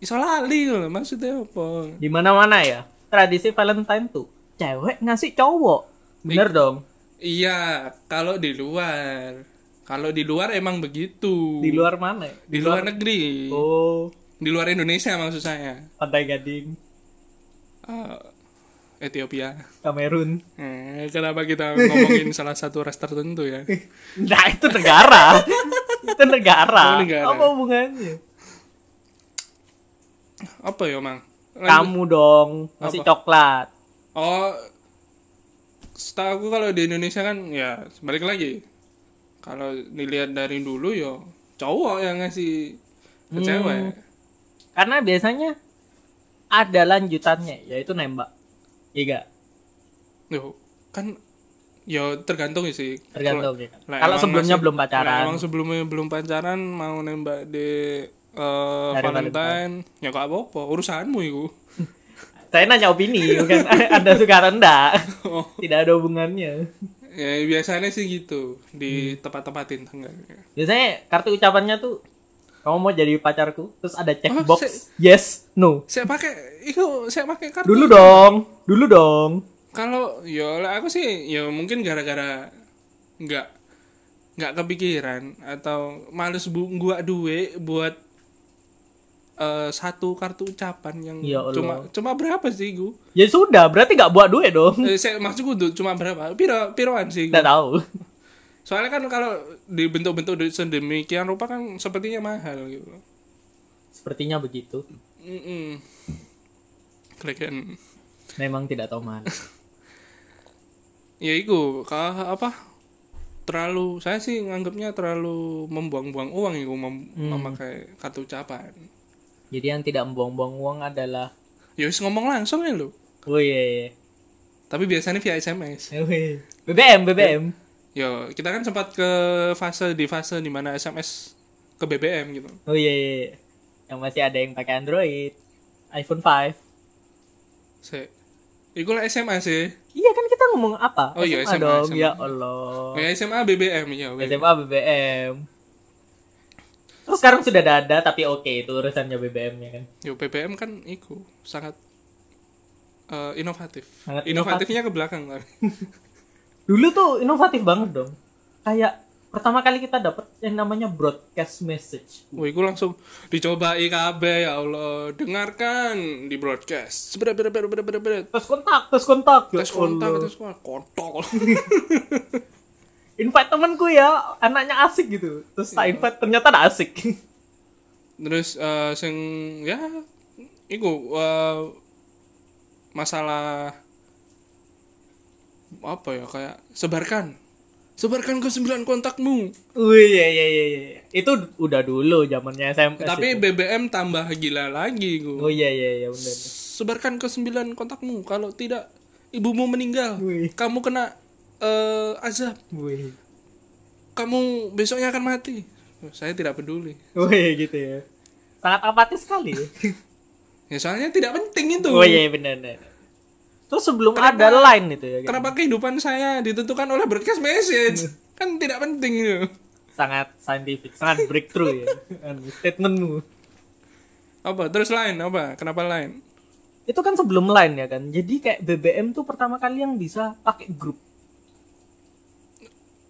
Speaker 1: iso lali lho maksudnya apa
Speaker 2: di mana mana ya tradisi Valentine tuh cewek ngasih cowok bener dong
Speaker 1: iya kalau di luar kalau di luar emang begitu
Speaker 2: di luar mana ya?
Speaker 1: Di luar negeri
Speaker 2: oh
Speaker 1: di luar Indonesia maksud saya
Speaker 2: pantai gading
Speaker 1: Eh, Ethiopia
Speaker 2: Kamerun
Speaker 1: eh, kenapa kita ngomongin salah satu ras tertentu ya
Speaker 2: nah itu negara itu
Speaker 1: Oh,
Speaker 2: negara.
Speaker 1: negara.
Speaker 2: apa hubungannya
Speaker 1: apa ya mang Lanjut.
Speaker 2: kamu dong ngasih
Speaker 1: Apa?
Speaker 2: coklat
Speaker 1: oh setahu aku kalau di Indonesia kan ya balik lagi kalau dilihat dari dulu yo cowok yang ngasih ke
Speaker 2: Hmm.
Speaker 1: cewek
Speaker 2: karena biasanya ada lanjutannya yaitu nembak iya gak?
Speaker 1: Yo, kan ya tergantung sih.
Speaker 2: tergantung ya kan?
Speaker 1: Lah,
Speaker 2: kalau
Speaker 1: emang
Speaker 2: sebelumnya
Speaker 1: masih-
Speaker 2: belum
Speaker 1: Nah,
Speaker 2: pacaran
Speaker 1: emang sebelumnya belum pacaran mau nembak di eh,
Speaker 2: Dari
Speaker 1: Valentine, ya gak apa-apa, urusanmu itu.
Speaker 2: saya nanya opini bukan ada suka atau enggak
Speaker 1: Oh,
Speaker 2: tidak ada hubungannya
Speaker 1: ya biasanya sih gitu di
Speaker 2: Hmm.
Speaker 1: tempat-tempat tenggang.
Speaker 2: Biasanya kartu ucapannya tuh kamu mau jadi pacarku, terus ada checkbox
Speaker 1: Oh, se-
Speaker 2: yes, no.
Speaker 1: Saya pakai itu saya pakai kartu.
Speaker 2: Dulu dong, dulu dong.
Speaker 1: Kalau ya lah aku sih ya mungkin gara-gara nggak nggak kepikiran atau males bu gua duit buat eh, satu kartu ucapan yang
Speaker 2: Ya Allah.
Speaker 1: cuma cuma berapa sih gua?
Speaker 2: Ya sudah, berarti gak buat duit dong.
Speaker 1: Eh, saya maksudku du- cuma berapa? Piro piroan sih
Speaker 2: Tidak
Speaker 1: gua.
Speaker 2: tahu.
Speaker 1: Soalnya kan kalau dibentuk-bentuk duit sedemikian rupa kan sepertinya mahal gitu.
Speaker 2: Sepertinya begitu.
Speaker 1: Mm Keren.
Speaker 2: Memang tidak tahu mana.
Speaker 1: ya itu ka- apa terlalu saya sih nganggapnya terlalu membuang-buang uang itu mem- memakai kartu ucapan
Speaker 2: Jadi yang tidak membuang-buang uang adalah
Speaker 1: ya wis ngomong langsung ya lo
Speaker 2: Oh iya, iya.
Speaker 1: tapi biasanya via SMS
Speaker 2: Oh, iya. BBM, BBM.
Speaker 1: yo kita kan sempat ke fase di fase dimana SMS ke BBM gitu
Speaker 2: Oh iya, iya. iya. Yang masih ada yang pakai Android, iPhone 5.
Speaker 1: saya Iku lah SMA sih.
Speaker 2: Iya kan kita ngomong apa?
Speaker 1: Oh iya, SMA,
Speaker 2: dong.
Speaker 1: SMA.
Speaker 2: Ya Allah.
Speaker 1: Kayak SMA BBM ya. weh.
Speaker 2: SMA BBM. Terus sekarang sudah ada, ada, tapi oke itu urusannya BBM ya kan.
Speaker 1: Yo BBM kan iku sangat eh, inovatif.
Speaker 2: Sangat
Speaker 1: Inovatifnya ke belakang lah.
Speaker 2: Dulu tuh inovatif banget dong. Kayak pertama kali kita dapat yang namanya broadcast message.
Speaker 1: Wah, iku langsung dicoba IKB ya Allah. Dengarkan di broadcast. Sebret, bret, bret, bret, bret, bret.
Speaker 2: Terus kontak, terus kontak. Ya
Speaker 1: Tes kontak,
Speaker 2: Allah.
Speaker 1: tes kontak, kontol.
Speaker 2: Invite temanku ya, anaknya asik gitu. Terus tak
Speaker 1: Iya.
Speaker 2: invite ternyata ada asik.
Speaker 1: Terus eh, sing ya iku eh, masalah apa ya kayak sebarkan. Sebarkan ke sembilan kontakmu.
Speaker 2: Wih, iya iya iya iya. Itu udah dulu zamannya SMP.
Speaker 1: Tapi BBM tambah gila lagi gua.
Speaker 2: Oh iya iya iya benar.
Speaker 1: sebarkan ke sembilan kontakmu kalau tidak ibumu meninggal
Speaker 2: Wih.
Speaker 1: kamu kena eh, azab
Speaker 2: Wih.
Speaker 1: kamu besoknya akan mati Oh, saya tidak peduli
Speaker 2: Wih gitu ya. Gitu. Sangat apatis sekali.
Speaker 1: ya soalnya tidak penting itu
Speaker 2: oh iya benar benar. Terus sebelum ada line itu ya. kan?
Speaker 1: kenapa kehidupan saya ditentukan oleh broadcast message
Speaker 2: Hmm.
Speaker 1: kan tidak penting itu
Speaker 2: Sangat scientific, sangat breakthrough ya. Anu, Statementmu.
Speaker 1: apa terus lain apa kenapa lain
Speaker 2: Itu kan sebelum line ya kan. Jadi kayak BBM tuh pertama kali yang bisa pakai grup.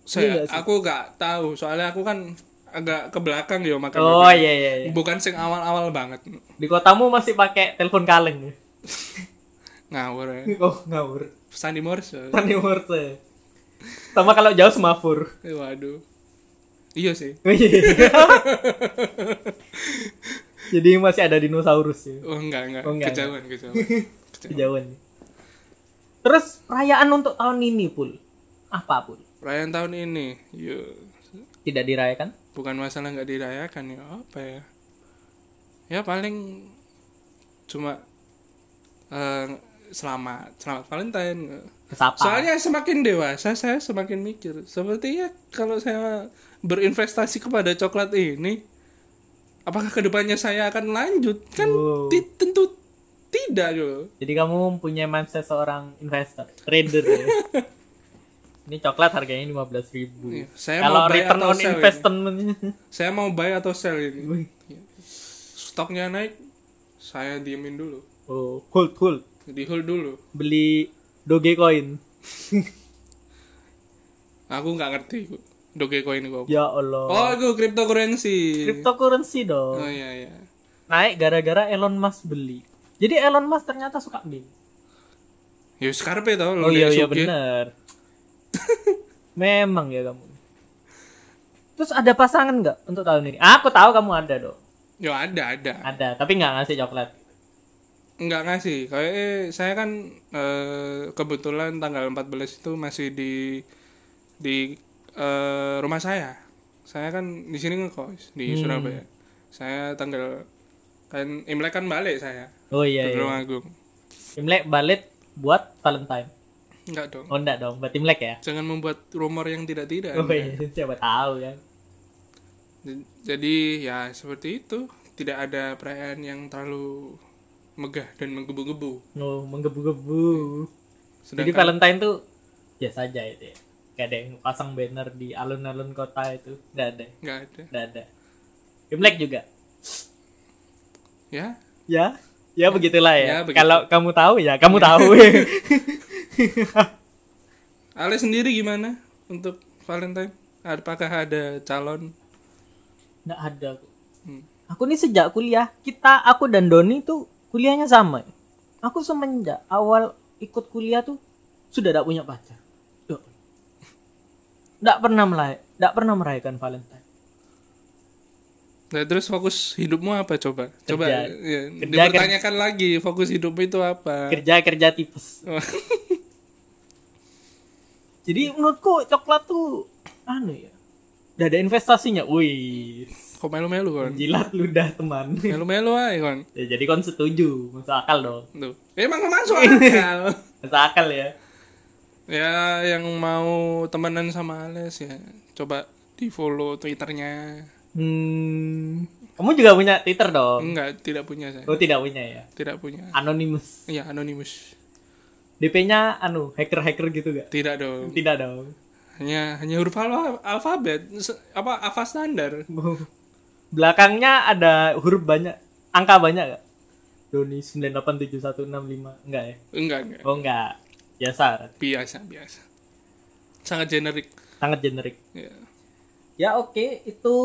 Speaker 1: saya
Speaker 2: Iya nggak sih?
Speaker 1: aku gak tahu soalnya aku kan agak ke belakang ya makanya
Speaker 2: Oh iya iya iya.
Speaker 1: bukan sing awal-awal banget
Speaker 2: Di kotamu masih pakai telepon kaleng ya.
Speaker 1: ngawur ya.
Speaker 2: Oh ngawur.
Speaker 1: Sandi Morse
Speaker 2: Tani Morse. Sama kalau jauh semafur.
Speaker 1: Eh, waduh iya sih
Speaker 2: Oh, Jadi masih ada dinosaurus ya,
Speaker 1: Oh enggak enggak,
Speaker 2: Oh, enggak,
Speaker 1: kejauhan kejauhan. Kejauhan.
Speaker 2: kejauhan. Terus perayaan untuk tahun ini pul, apa pul?
Speaker 1: Perayaan tahun ini, yo
Speaker 2: Tidak dirayakan?
Speaker 1: bukan masalah nggak dirayakan ya apa ya? Ya paling cuma eh, selamat selamat Valentine.
Speaker 2: Kesapa?
Speaker 1: Soalnya semakin dewasa saya semakin mikir. Sepertinya kalau saya berinvestasi kepada coklat ini, apakah kedepannya saya akan lanjut? Kan
Speaker 2: Wow.
Speaker 1: ti- tentu tidak gitu. yo.
Speaker 2: Jadi kamu punya mindset seorang investor, trader. ya. ini coklat harganya 15.000 ribu.
Speaker 1: Iya, saya
Speaker 2: Kalau
Speaker 1: mau buy
Speaker 2: return
Speaker 1: atau
Speaker 2: on
Speaker 1: sell ini.
Speaker 2: investment
Speaker 1: Saya mau buy atau sell ini. Iya. stoknya naik saya diemin dulu
Speaker 2: oh, hold hold,
Speaker 1: di hold dulu
Speaker 2: beli Dogecoin.
Speaker 1: aku nggak ngerti dogecoin itu apa
Speaker 2: ya Allah.
Speaker 1: oh iya. itu cryptocurrency
Speaker 2: Cryptocurrency dong.
Speaker 1: oh iya iya
Speaker 2: naik gara-gara Elon Musk beli. Jadi Elon Musk ternyata suka beli.
Speaker 1: ya scarpe tau lo
Speaker 2: Oh iya
Speaker 1: di
Speaker 2: iya
Speaker 1: SUG.
Speaker 2: benar. Memang ya kamu. Terus ada pasangan nggak untuk tahun ini? Aku tahu kamu ada dong.
Speaker 1: ya ada ada
Speaker 2: Ada, tapi nggak ngasih coklat.
Speaker 1: nggak ngasih kayak eh, saya kan eh, kebetulan tanggal 14 itu masih di di eh, rumah saya saya kan di sini ngekos
Speaker 2: Hmm.
Speaker 1: di Surabaya saya tanggal kan Imlek kan balik saya
Speaker 2: Oh iya
Speaker 1: ke
Speaker 2: iya.
Speaker 1: Tulung Agung
Speaker 2: Imlek balik buat Valentine.
Speaker 1: nggak dong
Speaker 2: Oh enggak dong, buat Imlek ya.
Speaker 1: jangan membuat rumor yang tidak tidak
Speaker 2: Oh iya, siapa tahu ya.
Speaker 1: J- Jadi ya seperti itu, tidak ada perayaan yang terlalu megah dan menggebu-gebu.
Speaker 2: Oh, menggebu-gebu. Jadi
Speaker 1: Sedangkan
Speaker 2: Valentine tuh biasa aja itu ya. Gak ada yang pasang banner di alun-alun kota itu. Nggak ada,
Speaker 1: nggak ada.
Speaker 2: nggak ada. Imlek juga.
Speaker 1: Ya,
Speaker 2: Ya, ya begitulah ya.
Speaker 1: Ya, begitu.
Speaker 2: Kalau kamu tahu ya, kamu tahu.
Speaker 1: Ale sendiri gimana untuk Valentine? Apakah ada calon?
Speaker 2: Nggak ada aku.
Speaker 1: Hmm.
Speaker 2: Aku nih sejak kuliah, kita aku dan Doni tuh kuliahnya sama. Aku semenjak awal ikut kuliah tuh sudah tidak punya pacar. Duh. Nggak pernah melay, nggak pernah merayakan Valentine.
Speaker 1: Nah, terus fokus hidupmu apa coba? Coba
Speaker 2: Kerja.
Speaker 1: ya,
Speaker 2: Kerja, kan?
Speaker 1: dipertanyakan lagi fokus hidupmu itu apa?
Speaker 2: Kerja kerja tipes. Jadi menurutku coklat tuh anu ya. Udah ada investasinya. Wih,
Speaker 1: Kok melu-melu kon?
Speaker 2: jilat ludah teman.
Speaker 1: Melu-melu aja kon.
Speaker 2: Ya, jadi kon setuju, masuk akal dong.
Speaker 1: Tuh. Emang masuk akal.
Speaker 2: Masuk akal ya.
Speaker 1: ya yang mau temenan sama Ales ya coba di follow twitternya
Speaker 2: Hmm, kamu juga punya Twitter dong?
Speaker 1: enggak tidak punya saya
Speaker 2: Oh tidak punya ya.
Speaker 1: tidak punya
Speaker 2: Anonymous.
Speaker 1: ya anonymous
Speaker 2: DP-nya anu hacker-hacker gitu gak?
Speaker 1: Tidak dong.
Speaker 2: Tidak dong.
Speaker 1: Hanya hanya huruf alfa- alfabet Se- apa alfa standar.
Speaker 2: Belakangnya ada huruf banyak, angka banyak gak? Doni 987165 enggak ya?
Speaker 1: Enggak enggak.
Speaker 2: Oh enggak. Biasa,
Speaker 1: Biasa biasa. Sangat generik.
Speaker 2: sangat generik.
Speaker 1: Ya.
Speaker 2: Ya oke, itu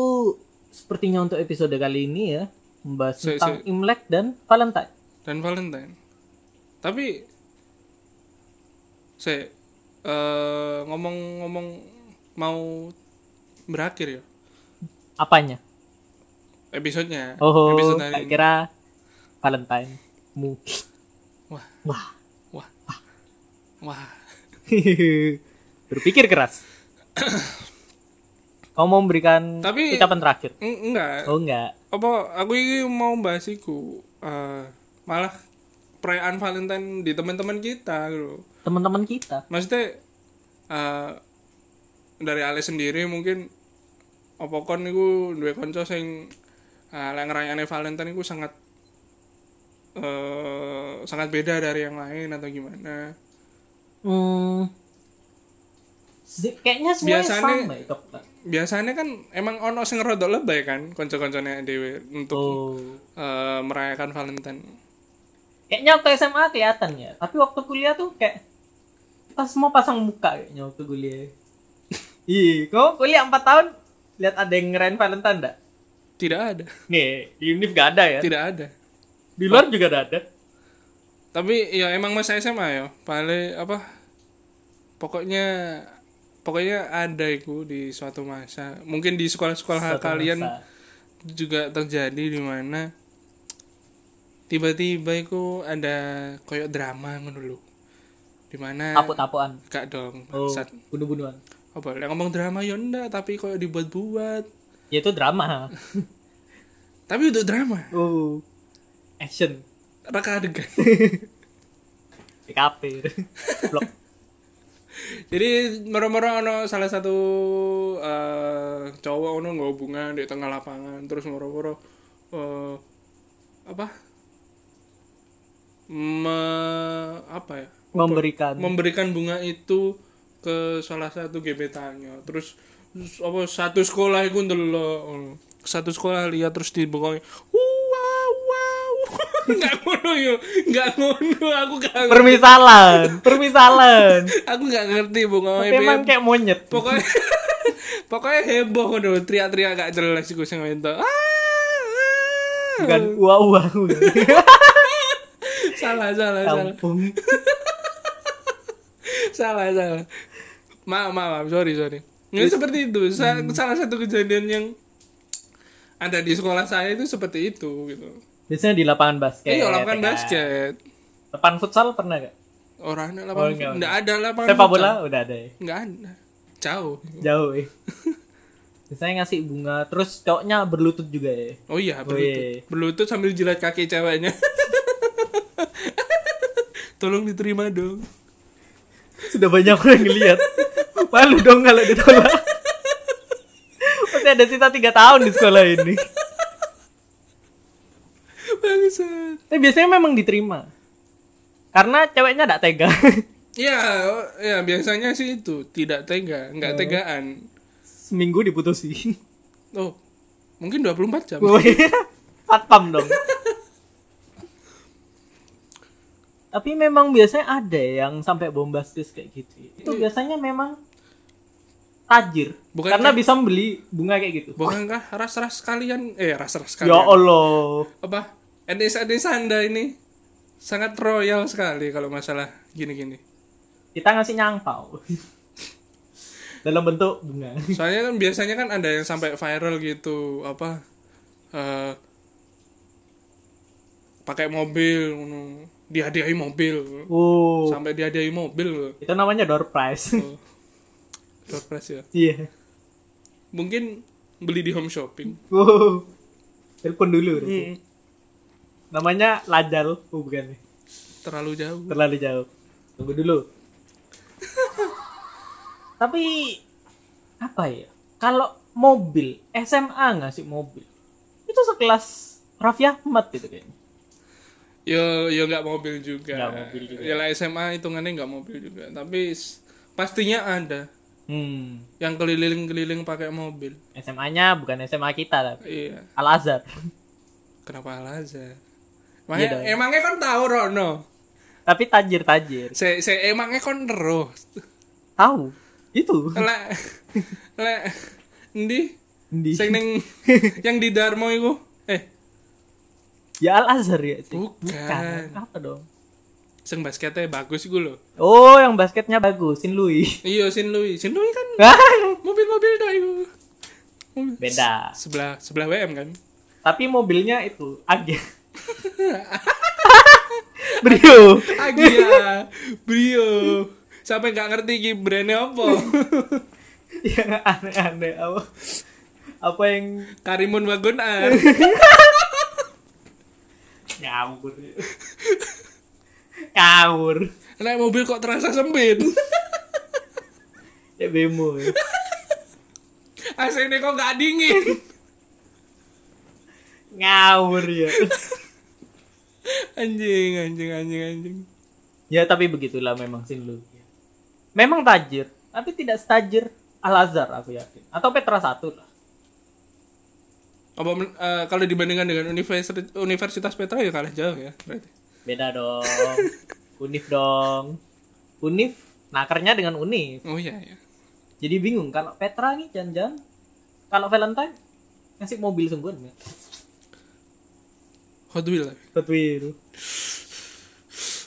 Speaker 2: sepertinya untuk episode kali ini ya membahas
Speaker 1: Sorry,
Speaker 2: tentang Imlek dan Valentine.
Speaker 1: Dan Valentine. Tapi saya eh, ngomong-ngomong mau berakhir ya
Speaker 2: Apanya?
Speaker 1: episodenya.
Speaker 2: Oh,
Speaker 1: episode
Speaker 2: tak
Speaker 1: hari ini.
Speaker 2: kira Valentine mu.
Speaker 1: Wah,
Speaker 2: Wah.
Speaker 1: wah, wah.
Speaker 2: Berpikir keras. Kau mau memberikan
Speaker 1: Tapi-
Speaker 2: ucapan terakhir?
Speaker 1: Eng- Enggak,
Speaker 2: Oh enggak.
Speaker 1: apa aku ini mau bahas iku eh, malah perayaan Valentine di teman-teman kita gitu
Speaker 2: Teman-teman kita.
Speaker 1: maksudnya eh, dari Ale sendiri mungkin apa kon niku duwe kanca sing eh, lek ngerayakne Valentine iku sangat eh, sangat beda dari yang lain atau gimana
Speaker 2: Hmm. se- Kayaknya semuanya
Speaker 1: Biasanya-
Speaker 2: sama ya, Kak.
Speaker 1: biasanya kan emang ono sing rodok lebay kan kanca-kancane dhewe untuk
Speaker 2: Oh.
Speaker 1: eh, merayakan Valentine
Speaker 2: Kayaknya waktu SMA kelihatan ya, tapi waktu kuliah tuh kayak kita semua pasang muka kayaknya waktu kuliah. Ih, kok kuliah 4 tahun lihat ada yang ngerayain Valentine enggak?
Speaker 1: tidak ada
Speaker 2: Nih, di univ gak ada ya.
Speaker 1: tidak ada
Speaker 2: Di luar juga gak ada.
Speaker 1: tapi ya emang masa SMA ya paling apa pokoknya pokoknya ada itu di suatu masa mungkin di sekolah-sekolah
Speaker 2: Suatu
Speaker 1: Ah, kalian
Speaker 2: masa.
Speaker 1: juga terjadi di mana tiba-tiba itu ada koyok drama ngono lho di mana
Speaker 2: tapuk-tapukan.
Speaker 1: gak dong
Speaker 2: Oh,
Speaker 1: bangsat
Speaker 2: bunuh-bunuhan.
Speaker 1: apa lek ngomong drama ya ndak tapi koyok dibuat-buat
Speaker 2: Ya itu drama.
Speaker 1: tapi untuk drama
Speaker 2: Oh. Action.
Speaker 1: reka adegan
Speaker 2: PKP. Blok.
Speaker 1: Jadi moro-moro ono salah satu eh, cowok ono nggak hubungan di tengah lapangan terus moro-moro eh, apa Me- apa ya
Speaker 2: Memberikan.
Speaker 1: memberikan bunga itu ke salah satu gebetannya terus terus apa satu sekolah itu ndelok ngono. satu sekolah lihat terus dibengong wow wow nggak ngono yo nggak ngono aku nggak
Speaker 2: permisalan. Permisalan.
Speaker 1: aku nggak ngerti bunga
Speaker 2: Tapi emang kayak monyet.
Speaker 1: pokoknya pokoknya heboh ngono teriak-teriak gak jelas iku sing Ah, entuk
Speaker 2: Bukan uwa-uwa.
Speaker 1: salah salah salah
Speaker 2: Kampung.
Speaker 1: salah salah maaf maaf maaf. sorry sorry nggak seperti itu Sa-
Speaker 2: Hmm.
Speaker 1: salah satu kejadian yang ada di sekolah saya itu seperti itu gitu
Speaker 2: Biasanya di lapangan basket.
Speaker 1: iya lapangan
Speaker 2: ya kan?
Speaker 1: basket
Speaker 2: Lapangan futsal pernah gak?
Speaker 1: orang ada
Speaker 2: Oh, nggak,
Speaker 1: lapangan nggak ada lapangan
Speaker 2: Sepak
Speaker 1: futsal.
Speaker 2: bola udah ada ya.
Speaker 1: nggak ada jauh
Speaker 2: Jauh ya. Biasanya ngasih bunga, terus cowoknya berlutut juga ya.
Speaker 1: Oh iya, berlutut.
Speaker 2: Weh.
Speaker 1: Berlutut sambil jilat kaki ceweknya. Tolong diterima dong.
Speaker 2: Sudah banyak orang ngeliat. Malu dong kalau ditolak. Masih ada sisa 3 tahun di sekolah ini.
Speaker 1: Bangsat.
Speaker 2: Tapi biasanya memang diterima. Karena ceweknya tidak tega.
Speaker 1: Ya, oh, ya biasanya sih itu tidak tega,
Speaker 2: Oh.
Speaker 1: nggak tegaan.
Speaker 2: Seminggu diputusin.
Speaker 1: Oh, mungkin 24 jam.
Speaker 2: Woi, Satpam dong. Tapi memang biasanya ada yang sampai bombastis kayak gitu. Itu biasanya memang tajir.
Speaker 1: Bukan
Speaker 2: karena
Speaker 1: kan-
Speaker 2: bisa membeli bunga kayak gitu.
Speaker 1: Bukankah ras-ras kalian? Eh, ras-ras
Speaker 2: Ya
Speaker 1: kalian.
Speaker 2: Allah.
Speaker 1: Apa? Desa-desa Anda ini sangat royal sekali kalau masalah gini-gini.
Speaker 2: Kita ngasih nyangpau. Dalam bentuk bunga.
Speaker 1: Soalnya kan biasanya kan ada yang sampai viral gitu, apa? eh pakai mobil, ngono. dihadiahi mobil.
Speaker 2: Oh,
Speaker 1: sampai dihadiahi mobil loh.
Speaker 2: itu namanya door prize.
Speaker 1: Oh. Surprise ya.
Speaker 2: Iya.
Speaker 1: Mungkin beli di home shopping.
Speaker 2: Wow. Telepon dulu. berarti.
Speaker 1: Mm.
Speaker 2: Namanya lajal. Oh, bukan.
Speaker 1: Terlalu jauh.
Speaker 2: terlalu jauh tunggu dulu tapi apa ya kalau mobil SMA ngasih mobil itu sekelas Raffi Ahmad gitu kayaknya
Speaker 1: Yo yo nggak mobil juga.
Speaker 2: Nggak mobil juga.
Speaker 1: Ya lah SMA hitungannya nggak mobil juga, tapi s- pastinya ada
Speaker 2: Hmm.
Speaker 1: yang keliling-keliling pakai mobil.
Speaker 2: SMA-nya bukan SMA kita tapi
Speaker 1: Iya.
Speaker 2: Al Azhar.
Speaker 1: Kenapa Al Azhar?
Speaker 2: Iya
Speaker 1: Emangnya,
Speaker 2: dong.
Speaker 1: emangnya kon tahu Rono?
Speaker 2: tapi tajir tajir.
Speaker 1: Se, se emangnya kon terus.
Speaker 2: Tahu? Itu.
Speaker 1: Lek lek endi
Speaker 2: Di.
Speaker 1: sing ning yang di Darmo iku? Eh,
Speaker 2: Ya Al Azhar ya. sih?
Speaker 1: bukan.
Speaker 2: Apa dong?
Speaker 1: Sing basketnya bagus iku lho.
Speaker 2: Oh, yang basketnya bagus, Sin Lui.
Speaker 1: Iya, Sin Lui. Sin Lui kan mobil-mobil dah iku. Mobil-
Speaker 2: Beda.
Speaker 1: Sebelah sebelah WM kan.
Speaker 2: Tapi mobilnya itu Agya. Brio.
Speaker 1: Agia, Iya, Brio. Sampai nggak ngerti iki brandnya apa.
Speaker 2: yang Ya, aneh-aneh apa apa yang
Speaker 1: Karimun Wagonan.
Speaker 2: ngawur ngawur
Speaker 1: Naik mobil kok terasa sempit.
Speaker 2: ya bemo ya.
Speaker 1: AC ini kok nggak dingin.
Speaker 2: ngawur ya
Speaker 1: Anjing, anjing, anjing, anjing.
Speaker 2: ya tapi begitulah memang sin lu memang tajir tapi tidak setajir Al Azhar aku yakin atau Petra satu lah
Speaker 1: Apa men- eh, kalau dibandingkan dengan universitas Universitas Petra ya kalah jauh ya berarti.
Speaker 2: beda dong Unif dong Unif nakernya dengan Unif
Speaker 1: Oh iya ya.
Speaker 2: jadi bingung kalau Petra nih jangan-jangan kalau Valentine ngasih mobil sungguhan ya
Speaker 1: Hot Wheels.
Speaker 2: Betul.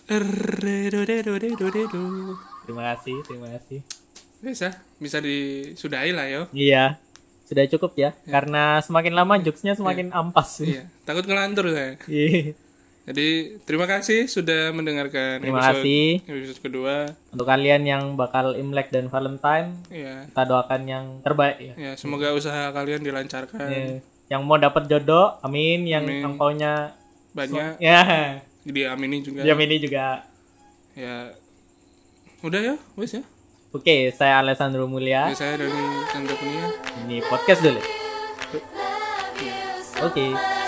Speaker 1: Redoredoredoredo.
Speaker 2: terima kasih terima kasih
Speaker 1: Bisa, bisa disudahi lah yo.
Speaker 2: Iya. Sudah cukup ya. Karena semakin lama jokesnya semakin ampas.
Speaker 1: Iya, takut ngelantur saya.
Speaker 2: Iya.
Speaker 1: Jadi terima kasih sudah mendengarkan
Speaker 2: Terima
Speaker 1: episode,
Speaker 2: kasih.
Speaker 1: episode kedua.
Speaker 2: Untuk kalian yang bakal Imlek dan Valentine,
Speaker 1: Ya,
Speaker 2: kita doakan yang terbaik ya.
Speaker 1: ya semoga usaha kalian dilancarkan
Speaker 2: Iya. Yang mau dapat jodoh, amin. Yang
Speaker 1: Amin.
Speaker 2: angpaunya
Speaker 1: banyak.
Speaker 2: ya.
Speaker 1: Diamini juga.
Speaker 2: Jam ini juga.
Speaker 1: Ya, udah ya, wes ya.
Speaker 2: Oke, saya Alessandro Mulya.
Speaker 1: Ya, saya dari Sandra Kunia.
Speaker 2: Ini podcast dulu. Oke.
Speaker 3: Okay.